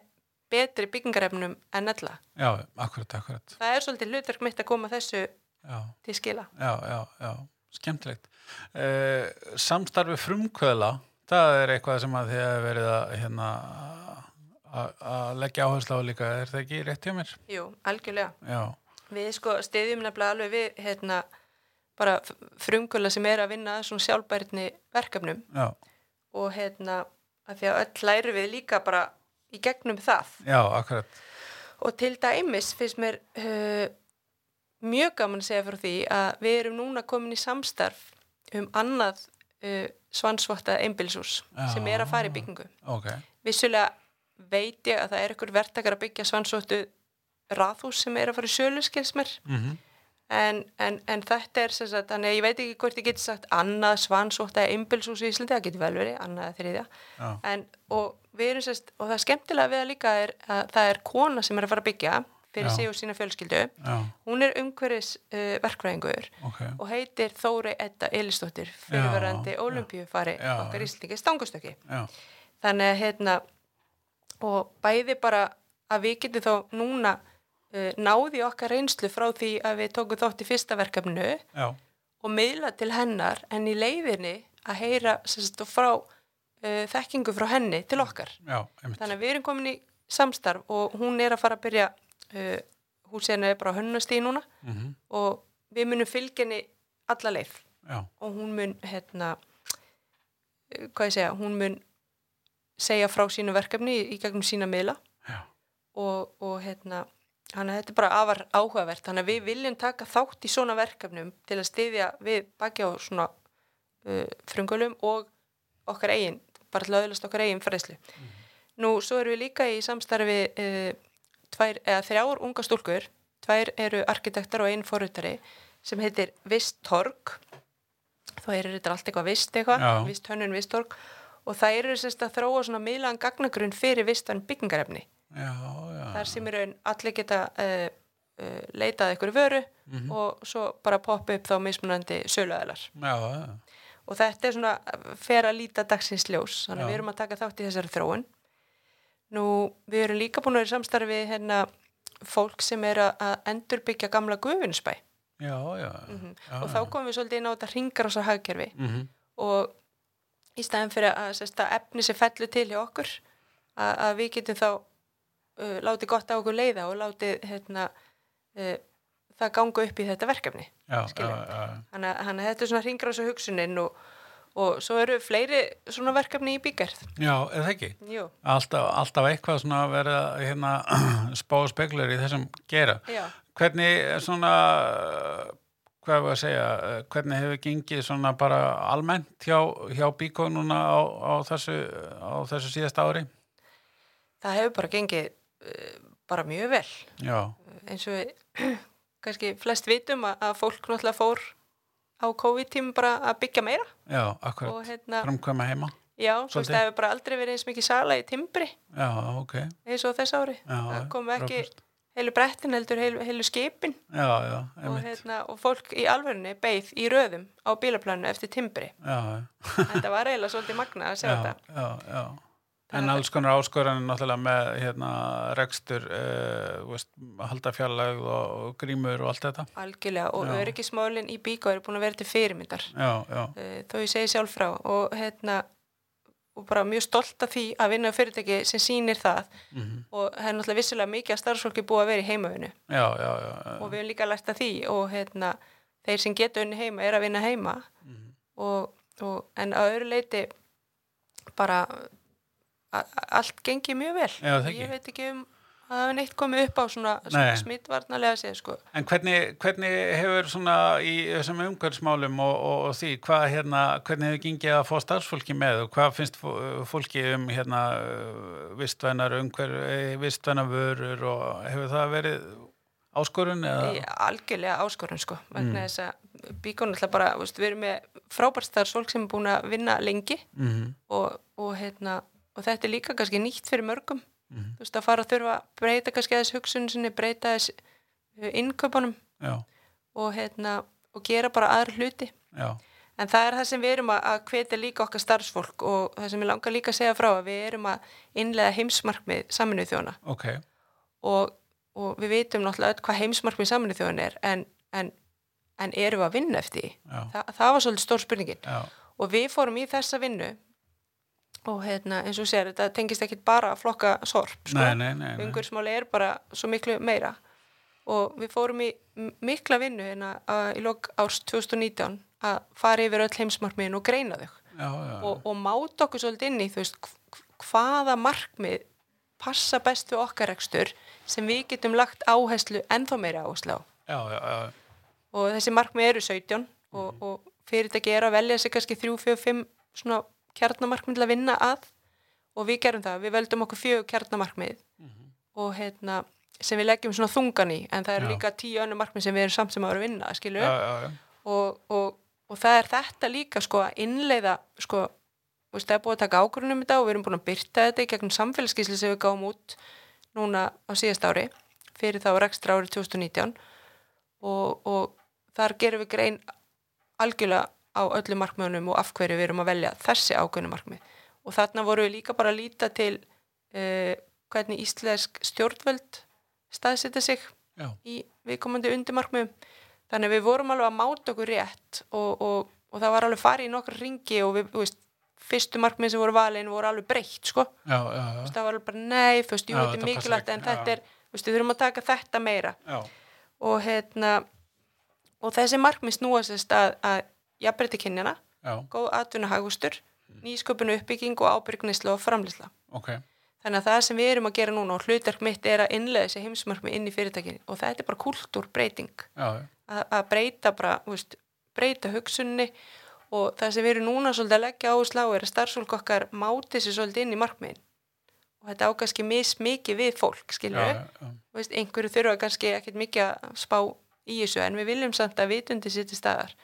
[SPEAKER 2] betri byggingarefnum en ella
[SPEAKER 1] já, akkurat, akkurat.
[SPEAKER 2] það er svolítið hlutverk mitt að koma þessu
[SPEAKER 1] Já,
[SPEAKER 2] til skila
[SPEAKER 1] já, já, já, skemmtilegt. Uh, samstarfi frumkvöðla, það er eitthvað sem að þið hefur verið að, hérna, að- að leggja áherslu á líka. Er það ekki rétt hjá mér?
[SPEAKER 2] Jú, algjörlega
[SPEAKER 1] Já,
[SPEAKER 2] við sko stiðjum nefnilega alveg við hérna, bara frumkvöla sem er að vinna að svona sjálfbærni verkefnum
[SPEAKER 1] já,
[SPEAKER 2] og hérna að því að öll læri við líka bara í gegnum það
[SPEAKER 1] já, akkurat.
[SPEAKER 2] og til dæmis finnst mér uh, mjög gaman að segja frá því að við erum núna komin í samstarf um annað uh, svansvotta einbilsús
[SPEAKER 1] Já.
[SPEAKER 2] sem er að fara í byggingu
[SPEAKER 1] Ok,
[SPEAKER 2] vissulega veit ég að það er ykkur vertakar að byggja svansóttu ráðhús sem er að fara í sölu skilsmer
[SPEAKER 1] mm
[SPEAKER 2] en, en, en þetta er sem sagt, þannig að ég veit ekki hvort ég geti sagt annað svansótt eða einbilshús í Íslandi, það getur vel verið, annað eða þriðja
[SPEAKER 1] já,
[SPEAKER 2] en, og, við erum, sem sagt, og það er skemmtilega við það líka er að það er kona sem er að fara að byggja fyrir
[SPEAKER 1] Já.
[SPEAKER 2] sig og sína fjölskyldu
[SPEAKER 1] já,
[SPEAKER 2] hún er umhverfis uh, verkfræðingur
[SPEAKER 1] ok.
[SPEAKER 2] og heitir Þóri Edda Elisdóttir
[SPEAKER 1] Já,
[SPEAKER 2] fyrirverandi
[SPEAKER 1] já.
[SPEAKER 2] olimpíufari
[SPEAKER 1] Já,
[SPEAKER 2] okkar
[SPEAKER 1] já.
[SPEAKER 2] Íslandi stangustöki
[SPEAKER 1] Já,
[SPEAKER 2] þannig að hérna og bæði bara að við getum þá núna uh, náði okkar reynslu frá því að við tókum þátt í fyrsta verkefnu
[SPEAKER 1] já,
[SPEAKER 2] og miðla til hennar en í leiðinni að heyra sérst, frá uh, þekkingu frá henni til okkar
[SPEAKER 1] já, einmitt.
[SPEAKER 2] þannig að við erum komin í samstarf og hún er að fara að byrja uh, húsinu er bara hönnustíð núna
[SPEAKER 1] Mm
[SPEAKER 2] og við munum fylgjenni alla leið
[SPEAKER 1] Já,
[SPEAKER 2] og hún mun hérna eh, hvað ég segja, hún mun segja frá sínu verkefni í- í gegnum sína miðla
[SPEAKER 1] já,
[SPEAKER 2] og, og hérna þannig að þetta er bara afar áhugavert þannig að við viljum taka þátt í svona verkefnum til að styðja við baki á svona uh, frungulum og okkar eigin, bara til að öðlast okkar eigin fræðslu. Nú, svo erum við líka í samstarfi uh, tvær, eða þrjár unga stúlkur tvær eru arkitektar og einn forutari sem heitir Visttorg þá er þetta allt eitthvað vist eitthvað,
[SPEAKER 1] Já.
[SPEAKER 2] vist hönnun Visttorg og það eru sérst að þróa svona miðlagan gagnagrunn fyrir vistan byggingarefni
[SPEAKER 1] já, já.
[SPEAKER 2] þar sem í raun allir geta uh, uh, leitað ykkur vöru
[SPEAKER 1] Mhm.
[SPEAKER 2] og svo bara poppa upp þá mismunandi söluæðlar
[SPEAKER 1] Já, já,
[SPEAKER 2] og þetta er svona eh, fer að líta dagsins ljós þannig að
[SPEAKER 1] Já.
[SPEAKER 2] við erum að taka þátt í þessari þróun nú við erum líka búin að vera í samstarfi hérna fólk sem er að- að endurbyggja gamla gufinsbæ
[SPEAKER 1] já, já. já,
[SPEAKER 2] Mhm. og
[SPEAKER 1] já.
[SPEAKER 2] þá komum við svolítið inn á þetta hringar á svo hagkerfi
[SPEAKER 1] Mhm.
[SPEAKER 2] og í staðin fyrir að, sérst, að efni sem fellur til hjá okkur að, að við getum þá uh, látið gott á okkur leiða og látið hérna, uh, það ganga upp í þetta verkefni
[SPEAKER 1] Já, já,
[SPEAKER 2] Skilja.
[SPEAKER 1] já,
[SPEAKER 2] þannig að- þannig að þetta er svona hringra á þessu hugsunin og, og svo eru fleiri svona verkefni í byggarð
[SPEAKER 1] já, er það ekki?
[SPEAKER 2] Jú,
[SPEAKER 1] Alltaf, alltaf eitthvað svona að vera hérna *clears throat* spá og speglur í þessum gera.
[SPEAKER 2] já
[SPEAKER 1] Hvernig eh, svona, eh, hvað var að segja, eh, hvernig hefur gengið svona bara almennt hjá, hjá Bíkó núna á, á, þessu, á þessu síðasta ári?
[SPEAKER 2] það hefur bara gengið uh, bara mjög vel
[SPEAKER 1] Já,
[SPEAKER 2] eins og við *clears throat* kannski flest vitum að, að fólk náttúrulega fór á COVID-tím bara að byggja meira
[SPEAKER 1] já, akkurat.
[SPEAKER 2] og hérna
[SPEAKER 1] Framkvæma heima?
[SPEAKER 2] Já, þú veist,
[SPEAKER 1] Svolítið.
[SPEAKER 2] það hefur bara aldrei verið eins mikið sala í timbri
[SPEAKER 1] Já, ok.
[SPEAKER 2] eins og þess ári.
[SPEAKER 1] Já,
[SPEAKER 2] það kom ekki
[SPEAKER 1] frábært.
[SPEAKER 2] heilu brettin heldur heilu, heilu skipin
[SPEAKER 1] Já, já,
[SPEAKER 2] og,
[SPEAKER 1] einmitt.
[SPEAKER 2] hérna, og fólk í alvörunni beið í röðum á bílaplaninu eftir
[SPEAKER 1] *laughs*
[SPEAKER 2] timbri.
[SPEAKER 1] Já, já.
[SPEAKER 2] Þetta var eiginlega svolítið magna að sjá
[SPEAKER 1] já,
[SPEAKER 2] þetta.
[SPEAKER 1] já, já.
[SPEAKER 2] Þannig
[SPEAKER 1] En
[SPEAKER 2] að-
[SPEAKER 1] alls konar áskoranir náttúrulega með hérna, rekstur, uh, veist, halda fjarlægð og, og grímur og allt þetta.
[SPEAKER 2] Algjörlega og
[SPEAKER 1] Já.
[SPEAKER 2] öryggismálin í bíkó eru búin að vera til fyrirmyndar
[SPEAKER 1] Já, já,
[SPEAKER 2] eh, þó ég segi sjálf frá og hérna og bara mjög stolt af því að vinna á fyrirtæki sem sýnir það
[SPEAKER 1] mhm.
[SPEAKER 2] og það er náttúrulega vissulega mikið að starfsfólki búið að vera í heimavinu
[SPEAKER 1] já, já, já.
[SPEAKER 2] og við höfum líka lært að því og hérna, þeir sem geta unni heima er að vinna heima
[SPEAKER 1] Mhm.
[SPEAKER 2] og, og, en að öðru leiti bara a- a- allt gengi mjög vel
[SPEAKER 1] Já, það ekki.
[SPEAKER 2] ég veit ekki um að það hefur neitt komið upp á svona
[SPEAKER 1] Nei.
[SPEAKER 2] smittvarnalega séð sko.
[SPEAKER 1] En hvernig, hvernig hefur svona í þessum umhverfsmálum og, og, og því, hvað hérna, hvernig hefur gengið að fá starfsfólki með og hvað finnst fó- fólki um hérna eh, vistvænar umhverf, eh, vistvænar vörur og hefur það verið áskorun eða?
[SPEAKER 2] Í algjörlega áskorun sko vegna
[SPEAKER 1] Mm.
[SPEAKER 2] þess að bíkónu alltaf bara þú veist, við erum með frábærstar svolg sem er búin að vinna lengi
[SPEAKER 1] Mhm,
[SPEAKER 2] og, og, hérna, og þetta er líka kannski nýtt fyrir mörgum
[SPEAKER 1] mhm.
[SPEAKER 2] þú veist að fara að þurfa að breyta kannski aðeins hugsun sinni, breyta aðeins eh, innkaupunum
[SPEAKER 1] Já,
[SPEAKER 2] og, hérna, og gera bara aðra hluti.
[SPEAKER 1] já,
[SPEAKER 2] En það er það sem við erum að, að hvetja líka okkar starfsfólk og það sem ég langar líka að segja frá að við erum að innlega heimsmarkmið saminuð þjóna
[SPEAKER 1] ok,
[SPEAKER 2] og, og við vitum náttúrulega öll hvað heimsmarkmið saminuð þjóna er en, en, en erum við að vinna eftir því?
[SPEAKER 1] já,
[SPEAKER 2] Þa, það var svolítið stór spurningin
[SPEAKER 1] já,
[SPEAKER 2] og við fórum í þessa vinnu og hérna, eins og þú segir, þetta tengist ekki bara að flokka sorp
[SPEAKER 1] nei, nei, nei, nei.
[SPEAKER 2] umhverfismáli er bara svo miklu meira og við fórum í m- mikla vinnu hérna að- í lok árs 2019 að fara yfir öll heimsmarkmiðin og greina þau
[SPEAKER 1] já, já,
[SPEAKER 2] og, og máta okkur svolítið inn í þú veist hv- hvaða markmið passa best við okkar rekstur sem við getum lagt áherslu ennþá meira áherslu á
[SPEAKER 1] já, já, já,
[SPEAKER 2] og þessi markmið eru 17 og, og fyrirtæki er að velja sér kannski 3, 4, 5 svona kjarnamarkmið til að vinna að og við gerum það, við veldum okkur fjögur kjarnamarkmið og hérna sem við leggjum svona þungan í en það eru
[SPEAKER 1] Já.
[SPEAKER 2] líka 10 önnur markmið sem við erum samt sem að vera að vinna, skilur
[SPEAKER 1] já, já, já.
[SPEAKER 2] og, og, og það er þetta líka sko að innleiða sko, þú veist, það er búið að taka ákvörunum þetta og við erum búin að byrta þetta í gegnum samfélagskísli sem við gáum út núna á síðast ári fyrir þá rekstra árið 2019 og, og þar gerum við grein algjörlega á öllum markmiðunum og af hverju við erum að velja þessi ákveðnu markmið og þarna vorum við líka bara að líta til uh, hvernig íslensk stjórnvöld staðsetja sig
[SPEAKER 1] já.
[SPEAKER 2] í viðkomandi undirmarkmiðum þannig að við vorum alveg að máta okkur rétt og, og, og það var alveg farið í nokkra ringi og við, þú veist, fyrstu markmið sem voru valin voru alveg breytt sko, Þú
[SPEAKER 1] já, já, já.
[SPEAKER 2] veist, það var alveg bara nei, þú veist, jú,
[SPEAKER 1] Já,
[SPEAKER 2] þetta
[SPEAKER 1] þetta
[SPEAKER 2] er
[SPEAKER 1] passar
[SPEAKER 2] mikilvægt
[SPEAKER 1] ekki,
[SPEAKER 2] en
[SPEAKER 1] já.
[SPEAKER 2] þetta er, þú veist, við þurfum að taka þetta meira
[SPEAKER 1] já.
[SPEAKER 2] og hérna og þessi markmið snúa sérst að, að jafnbreyti kynjana,
[SPEAKER 1] já.
[SPEAKER 2] góð atvinnuhagustur nýsköpun uppbygging og ábyrgnisla og framlisla
[SPEAKER 1] ok
[SPEAKER 2] Þannig að það sem við erum að gera núna og hlutverk mitt er að innlega þessi heimsmarkmið inn í fyrirtækinni og þetta er bara kultúrbreyting
[SPEAKER 1] já, já.
[SPEAKER 2] að að breyta bara, þú veist, breyta hugsunni og það sem við erum núna svolítið að leggja áherslu á er að starfsfólk okkar máti sér svolítið inn í markmiðin og þetta á kannski mismikið við fólk, skilur
[SPEAKER 1] já,
[SPEAKER 2] við,
[SPEAKER 1] já, já.
[SPEAKER 2] þú veist, einhverju þurfa kannski ekkert mikið að spá í þessu en við viljum samt að vitundi sér til staðar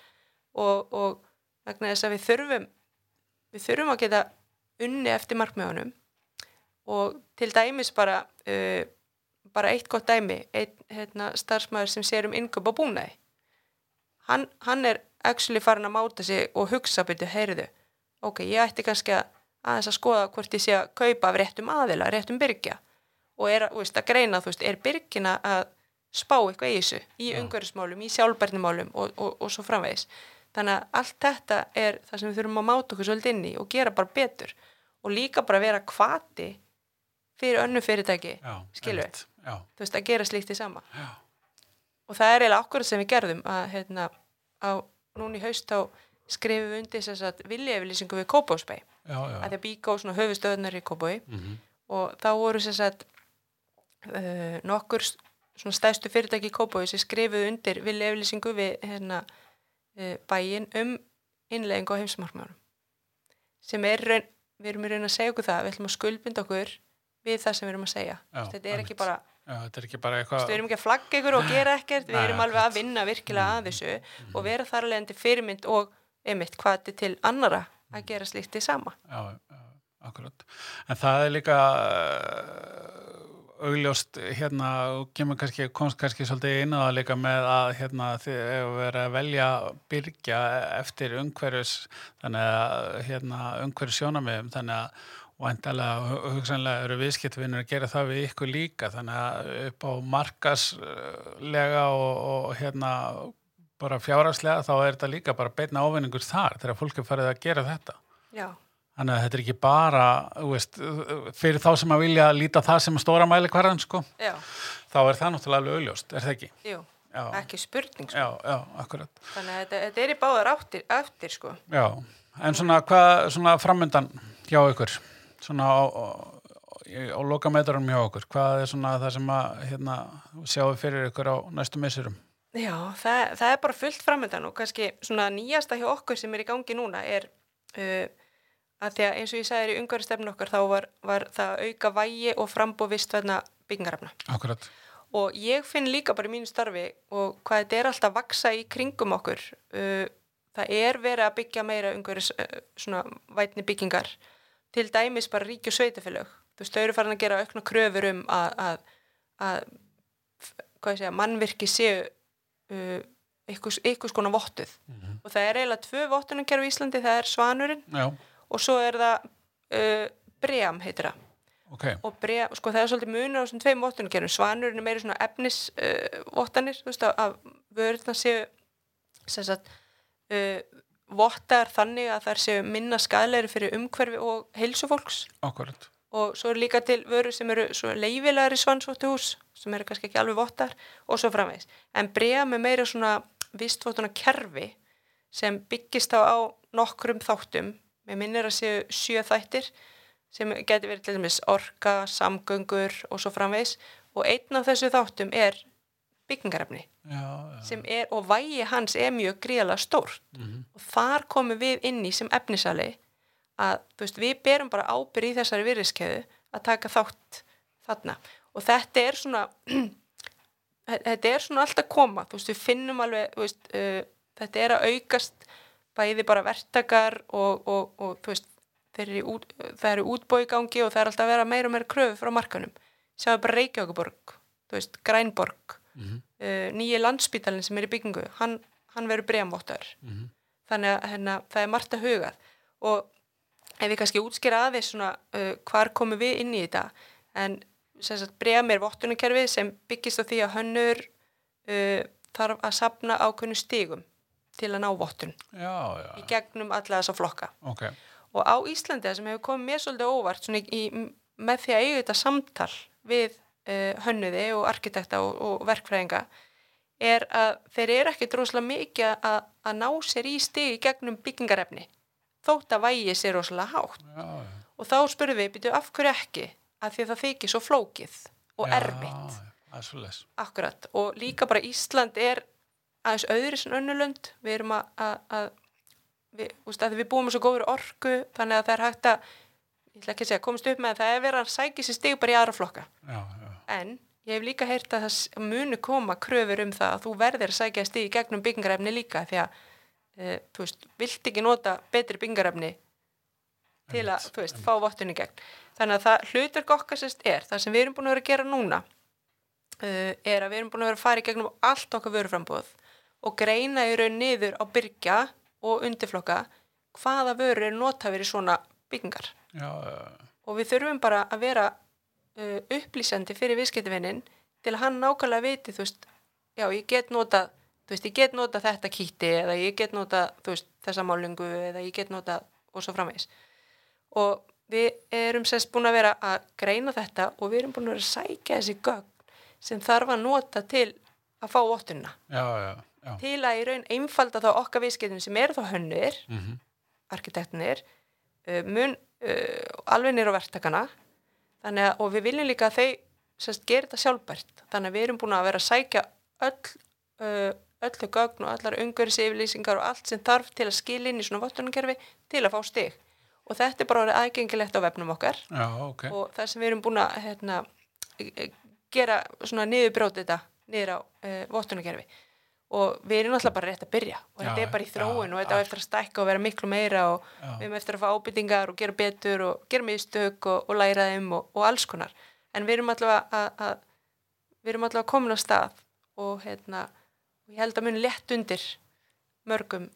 [SPEAKER 2] og, og vegna þess að við þurfum við þurfum að geta unni eftir markmiðunum og til dæmis bara uh, bara eitt gott dæmi einn hérna, starfsmæður sem sér um inngöp á búnaði hann, hann er actually farin að máta sig og hugsa byrju, heyrðu, ok, ég ætti kannski að aðeins að skoða hvort ég sé að kaupa af réttum aðila, réttum byrgja og er að, þú veist, að greina, þú veist, er byrgina að spá eitthvað í þessu í
[SPEAKER 1] Já.
[SPEAKER 2] umhverfismálum, í sjálfbærnumálum og, og, og svo framvegis. Þannig að allt þetta er það sem við þurfum að máta okkur svolítið inn í og gera bara betur og líka bara vera kvati fyrir önnu fyrirtæki,
[SPEAKER 1] já.
[SPEAKER 2] Skilur við?
[SPEAKER 1] einmitt. já,
[SPEAKER 2] þú veist, að gera slíkt í sama
[SPEAKER 1] já,
[SPEAKER 2] og það er eiginlega okkur sem við gerðum að hérna, á, núna í haust þá skrifum við undir þess að vilja yfirlýsingu við Kópásbæ að
[SPEAKER 1] já, já.
[SPEAKER 2] því að Bíkó svona höfustöðunar í Kópói
[SPEAKER 1] Mhm.
[SPEAKER 2] og þá voru þess að uh, nokkur s- svona stæstu fyrirtæki í Kópói sem skrifuðu undir vilja yfirlýsingu við hérna, uh, bæin um innleggingu á heimsmarkmjónum sem er í raun, við erum í raun að segja okkur það, við ætlum að skuldbinda okkur við það sem við erum að segja
[SPEAKER 1] Já,
[SPEAKER 2] þetta er ekki
[SPEAKER 1] einmitt.
[SPEAKER 2] bara
[SPEAKER 1] já, þetta er ekki bara
[SPEAKER 2] Þú veist,
[SPEAKER 1] eitthvað
[SPEAKER 2] við erum ekki að flagga ykkur og gera ekkert við
[SPEAKER 1] Nei, Mm.
[SPEAKER 2] erum alveg að vinna virkilega að þessu og vera þar alveg endur fyrirmynd og einmitt hvati til annara að gera slíkt í sama
[SPEAKER 1] já, já, akkurat en það er líka uh, augljóst hérna og kemur kannski, komst kannski svolítið inn á það líka með að hérna þið hefur verið að velja byrgja eftir umhverjus þannig að hérna umhverjus sjónamiðum þannig að væntalega og hu- hugsanlega eru viðskiptvinnur að gera það við ykkur líka þannig að upp á markaslega og, og hérna bara fjárhagslega þá er þetta líka bara beina ávinningur þar þegar fólk er farið að gera þetta
[SPEAKER 2] Já,
[SPEAKER 1] Þannig að þetta er ekki bara, þú veist, fyrir þá sem að vilja líta það sem stóra mæli hverjan, sko,
[SPEAKER 2] já,
[SPEAKER 1] þá er það náttúrulega alveg auðljóst, er það ekki?
[SPEAKER 2] jú,
[SPEAKER 1] Já,
[SPEAKER 2] ekki spurning sko.
[SPEAKER 1] já, já, akkurat.
[SPEAKER 2] þannig að þetta, þetta er í báðar áttir, áttir sko.
[SPEAKER 1] Já, en svona hvað, svona framöndan hjá ykkur, svona á, á, á lokametrunum hjá ykkur, hvað er svona það sem að, hérna, sjáu fyrir ykkur á næstu missurum?
[SPEAKER 2] Já, það, það er bara fullt framöndan og kannski svona nýjasta hjá okkur sem er í gangi núna er uh, að því að eins og ég sagði þér í ungaristefnu okkar þá var, var það að auka vægi og frambúð vistvæðna byggingarafna
[SPEAKER 1] Akkurat,
[SPEAKER 2] og ég finn líka bara í mínu starfi og hvað þetta er alltaf að vaksa í kringum okkur uh, það er verið að byggja meira umhverjus uh, svona vætni byggingar til dæmis bara ríki og sveitafélög þú veist, þau eru farin að gera aukna kröfur um að, að, að f- hvað ég segja, mannvirki séu uh, ykkurs, ykkurs konar vottuð og það er eiginlega tvö vottunumkerfi í Íslandi það er Svanurinn
[SPEAKER 1] já,
[SPEAKER 2] og svo er það uh, Bream heitir það
[SPEAKER 1] ok,
[SPEAKER 2] og bregja, sko það er svolítið munur á þessum tveim vottunarkerfum, svanurinn er meiri svona efnisvottanir, uh, vottanir, þú veist að, að vörðna séu sem sagt uh, vottar þannig að þær séu minna skadleiri fyrir umhverfi og heilsufólks
[SPEAKER 1] akkurat,
[SPEAKER 2] og svo er líka til vörur sem eru svo leifilegri svansvottuhús sem eru kannski ekki alveg vottar og svo framvegis. En bregja með meira svona vistvottuna kerfi sem byggist þá á nokkrum þáttum. Mér minnir að séu sjö þættir sem getur verið til dæmis orka, samgöngur og svo framvegis og einn af þessu þáttum er byggingarefni
[SPEAKER 1] já, já.
[SPEAKER 2] sem er, og vægi hans er mjög gríðalega stórt
[SPEAKER 1] Mhm.
[SPEAKER 2] og þar komum við inn í sem efnisali að þú veist, við berum bara ábyrð í þessari virðiskeðu að taka þátt þarna og þetta er svona *clears throat* þetta er svona alltaf koma þú veist, við finnum alveg þú veist, uh, þetta er að aukast bæði bara verktakar og, og, og þú veist, þeir eru í út, það eru útbói í gangi og það er alltaf að vera meira og meira kröfu frá markanum sjáðu bara Reykjavíkuborg, þú veist, Grænborg
[SPEAKER 1] Mhm.
[SPEAKER 2] uh, nýji landspítalinn sem er í byggingu hann, hann verður bremvottar
[SPEAKER 1] Mhm.
[SPEAKER 2] þannig að hérna, það er margt að hugað og ef við kannski útskýra aðeins svona uh, hvar komum við inn í þetta en sem sagt brem er vottunarkerfið sem byggist á því að hönnur uh, þarf að sapna ákveðnu stigum til að ná vottun
[SPEAKER 1] já,
[SPEAKER 2] í
[SPEAKER 1] já,
[SPEAKER 2] gegnum alla þessa flokka
[SPEAKER 1] ok
[SPEAKER 2] og á Íslandi það sem hefur komið mér svolítið á óvart svona í, með því að eiga þetta samtal við uh, hönnuði og arkitekta og, og verkfræðinga er að þeir eru ekki droslega mikið að, að ná sér í stigi gegnum byggingarefni þótt að vægi sér rosalega hátt
[SPEAKER 1] já, já.
[SPEAKER 2] og þá spurðum við, byrju af hverju ekki að því að það þykir svo flókið og
[SPEAKER 1] Já,
[SPEAKER 2] erfitt
[SPEAKER 1] já, það er svolítið
[SPEAKER 2] Akkurat, og líka bara Ísland er aðeins öðri sem önnulönd, við erum að, að, að við, úst, að við búum með svo góður orku, þannig að það er hægt að, ég ætla ekki að segja, komast upp með að það er verið að sækja sér stig bara í aðra flokka.
[SPEAKER 1] já, já,
[SPEAKER 2] En ég hef líka heyrt að það s- munu koma kröfur um það að þú verðir að sækja stig í gegnum byggingarefni líka, því að, e, þú veist, vilt ekki nota betri byggingarefni til að,
[SPEAKER 1] Einmitt,
[SPEAKER 2] þú veist, fá vottun í gegn. Þannig að það hlutur okkar sérst er, það sem við erum búin að vera að gera núna, uh, er að við erum búin að vera að fara í gegnum allt okkar vöruframbúð og greina í raun niður á byrgja og undirflokka hvaða vörur er nota verið svona byggingar.
[SPEAKER 1] já, já.
[SPEAKER 2] Og við þurfum bara að vera uh, upplýsandi fyrir viðskiptavinnin til að hann nákvæmlega viti, þú veist, já, ég get notað, þú veist, ég get notað þetta kýtti eða ég get notað, þú veist, þessa málingu eða ég get notað og svo framvegis. Og við erum sérst búin að vera að greina þetta og við erum búin að vera að sækja þessi gögn sem þarf að nota til að fá vottunna.
[SPEAKER 1] já, já, já.
[SPEAKER 2] Til að í raun einfalda þá okkar viðskiptum sem eru þá hönnir,
[SPEAKER 1] Mm -hmm.
[SPEAKER 2] arkitektinir uh, mun uh, alveg nýra verktakana þannig að, og við viljum líka að þau sérst, gerir þetta sjálfbært þannig að við erum búin að vera að sækja öll, uh, öllu gögn og allar umhverfis yfirlýsingar og allt sem þarf til að skilja inn í svona vottunarkerfi til að fá stig og þetta er bara orðið aðgengilegt á vefnum okkar
[SPEAKER 1] já, ok
[SPEAKER 2] og það sem við erum búin að hérna, gera svona niðurbrótið þetta niður á uh, vottunarkerfi og við erum náttúrulega bara rétt að byrja og
[SPEAKER 1] Já,
[SPEAKER 2] þetta er bara í
[SPEAKER 1] já,
[SPEAKER 2] þróun og þetta á
[SPEAKER 1] já.
[SPEAKER 2] eftir að stækka og vera miklu meira og
[SPEAKER 1] Já.
[SPEAKER 2] við erum eftir að fá ábyrtingar og gera betur og gera mistök og, og læra þeim og, og alls konar en við erum allavega að, að við erum allavega komin á stað og hérna, og ég held að muni létt undir mörgum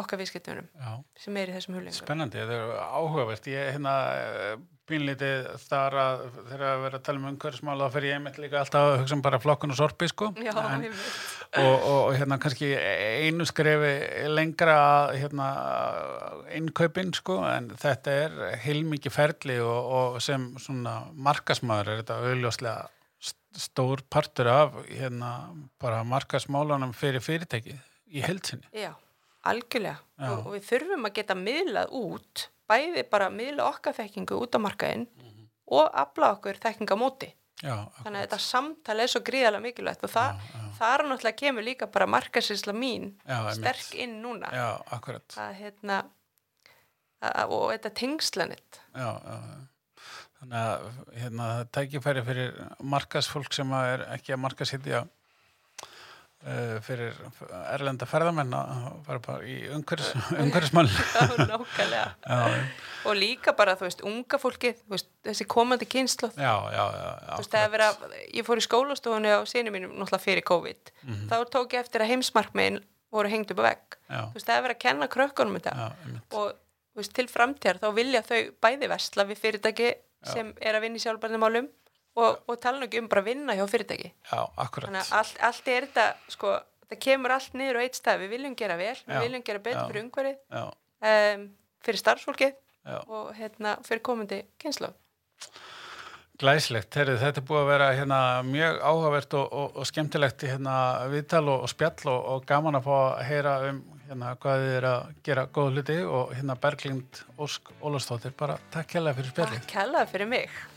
[SPEAKER 2] okkar viðskiptunum
[SPEAKER 1] já.
[SPEAKER 2] sem er í þessum hulingum
[SPEAKER 1] Spennandi, þetta er áhugavert. Ég hérna eh, pínlítið þar að þegar að vera að tala um umhverfismál þá fer ég einmitt líka alltaf að hugsa um bara flokkun og sorpi sko.
[SPEAKER 2] Já,
[SPEAKER 1] En-
[SPEAKER 2] einmitt.
[SPEAKER 1] og, og, og hérna kannski einu skrefi lengra að, hérna innkaupin sko en þetta er heilmikið ferli og, og sem svona markasmaður er þetta auðljóslega st- stór partur af hérna bara markasmálunum fyrir fyrirtækið í heldsinni.
[SPEAKER 2] Já, algjörlega
[SPEAKER 1] Já.
[SPEAKER 2] Og, og við þurfum að geta miðlað út bæði bara miðla okkar þekkingu út á markaðinn
[SPEAKER 1] Mhm.
[SPEAKER 2] og afla okkur þekkinga móti.
[SPEAKER 1] Já,
[SPEAKER 2] Þannig að þetta samtal er svo gríðarlega mikilvægt og það,
[SPEAKER 1] Já, já.
[SPEAKER 2] þar náttúrulega kemur líka bara markasýsla mín
[SPEAKER 1] Já, einmitt.
[SPEAKER 2] sterk inn núna
[SPEAKER 1] já, akkurat.
[SPEAKER 2] að hérna að, og þetta *laughs* tengslanett
[SPEAKER 1] já, já. já. Þannig að hérna, það er tækifæri fyrir markasfólk sem að er ekki að markasitja uh, fyrir erlenda ferðamenn að fara bara í
[SPEAKER 2] *laughs*
[SPEAKER 1] umhverfismann.
[SPEAKER 2] nákvæmlega
[SPEAKER 1] já,
[SPEAKER 2] og líka bara þú veist unga fólkið, þú veist, þessi komandi kynslu
[SPEAKER 1] já, já, já. já
[SPEAKER 2] Þú veist, það er verið að, ég fór í skólastofunni á sínu mínum náttúrulega fyrir COVID
[SPEAKER 1] Mhm.
[SPEAKER 2] þá tók ég eftir að heimsmarkmiðin voru hengt upp að vegg
[SPEAKER 1] Já,
[SPEAKER 2] þú veist, það er verið að kenna krökkunum þetta
[SPEAKER 1] já, einmitt.
[SPEAKER 2] og þú veist, til framtíðar þá vilja þau bæði versla við fyrirtæki sem er að vinna í sjálfbarnamálum og, og tala nú ekki um bara að vinna hjá fyrirtæki
[SPEAKER 1] já, akkurat.
[SPEAKER 2] þannig að allt, allt er þetta sko, það kemur allt niður á eitt stað við viljum gera vel,
[SPEAKER 1] Já.
[SPEAKER 2] við viljum gera betur
[SPEAKER 1] Já.
[SPEAKER 2] fyrir umhverfið
[SPEAKER 1] Já,
[SPEAKER 2] um, fyrir starfsfólkið
[SPEAKER 1] já.
[SPEAKER 2] og hérna, fyrir komandi kynslu
[SPEAKER 1] Glæslegt, Heyrðu, þetta er búið að vera hérna, mjög áhugavert og, og, og skemmtilegt hérna, viðtal og, og spjall og, og gaman að fá að heyra um hérna, hvað þið er að gera góð hluti og hérna Berglind Ósk Ólafsdóttir, bara takk hérlega fyrir spjallið.
[SPEAKER 2] Takk hella fyrir mig.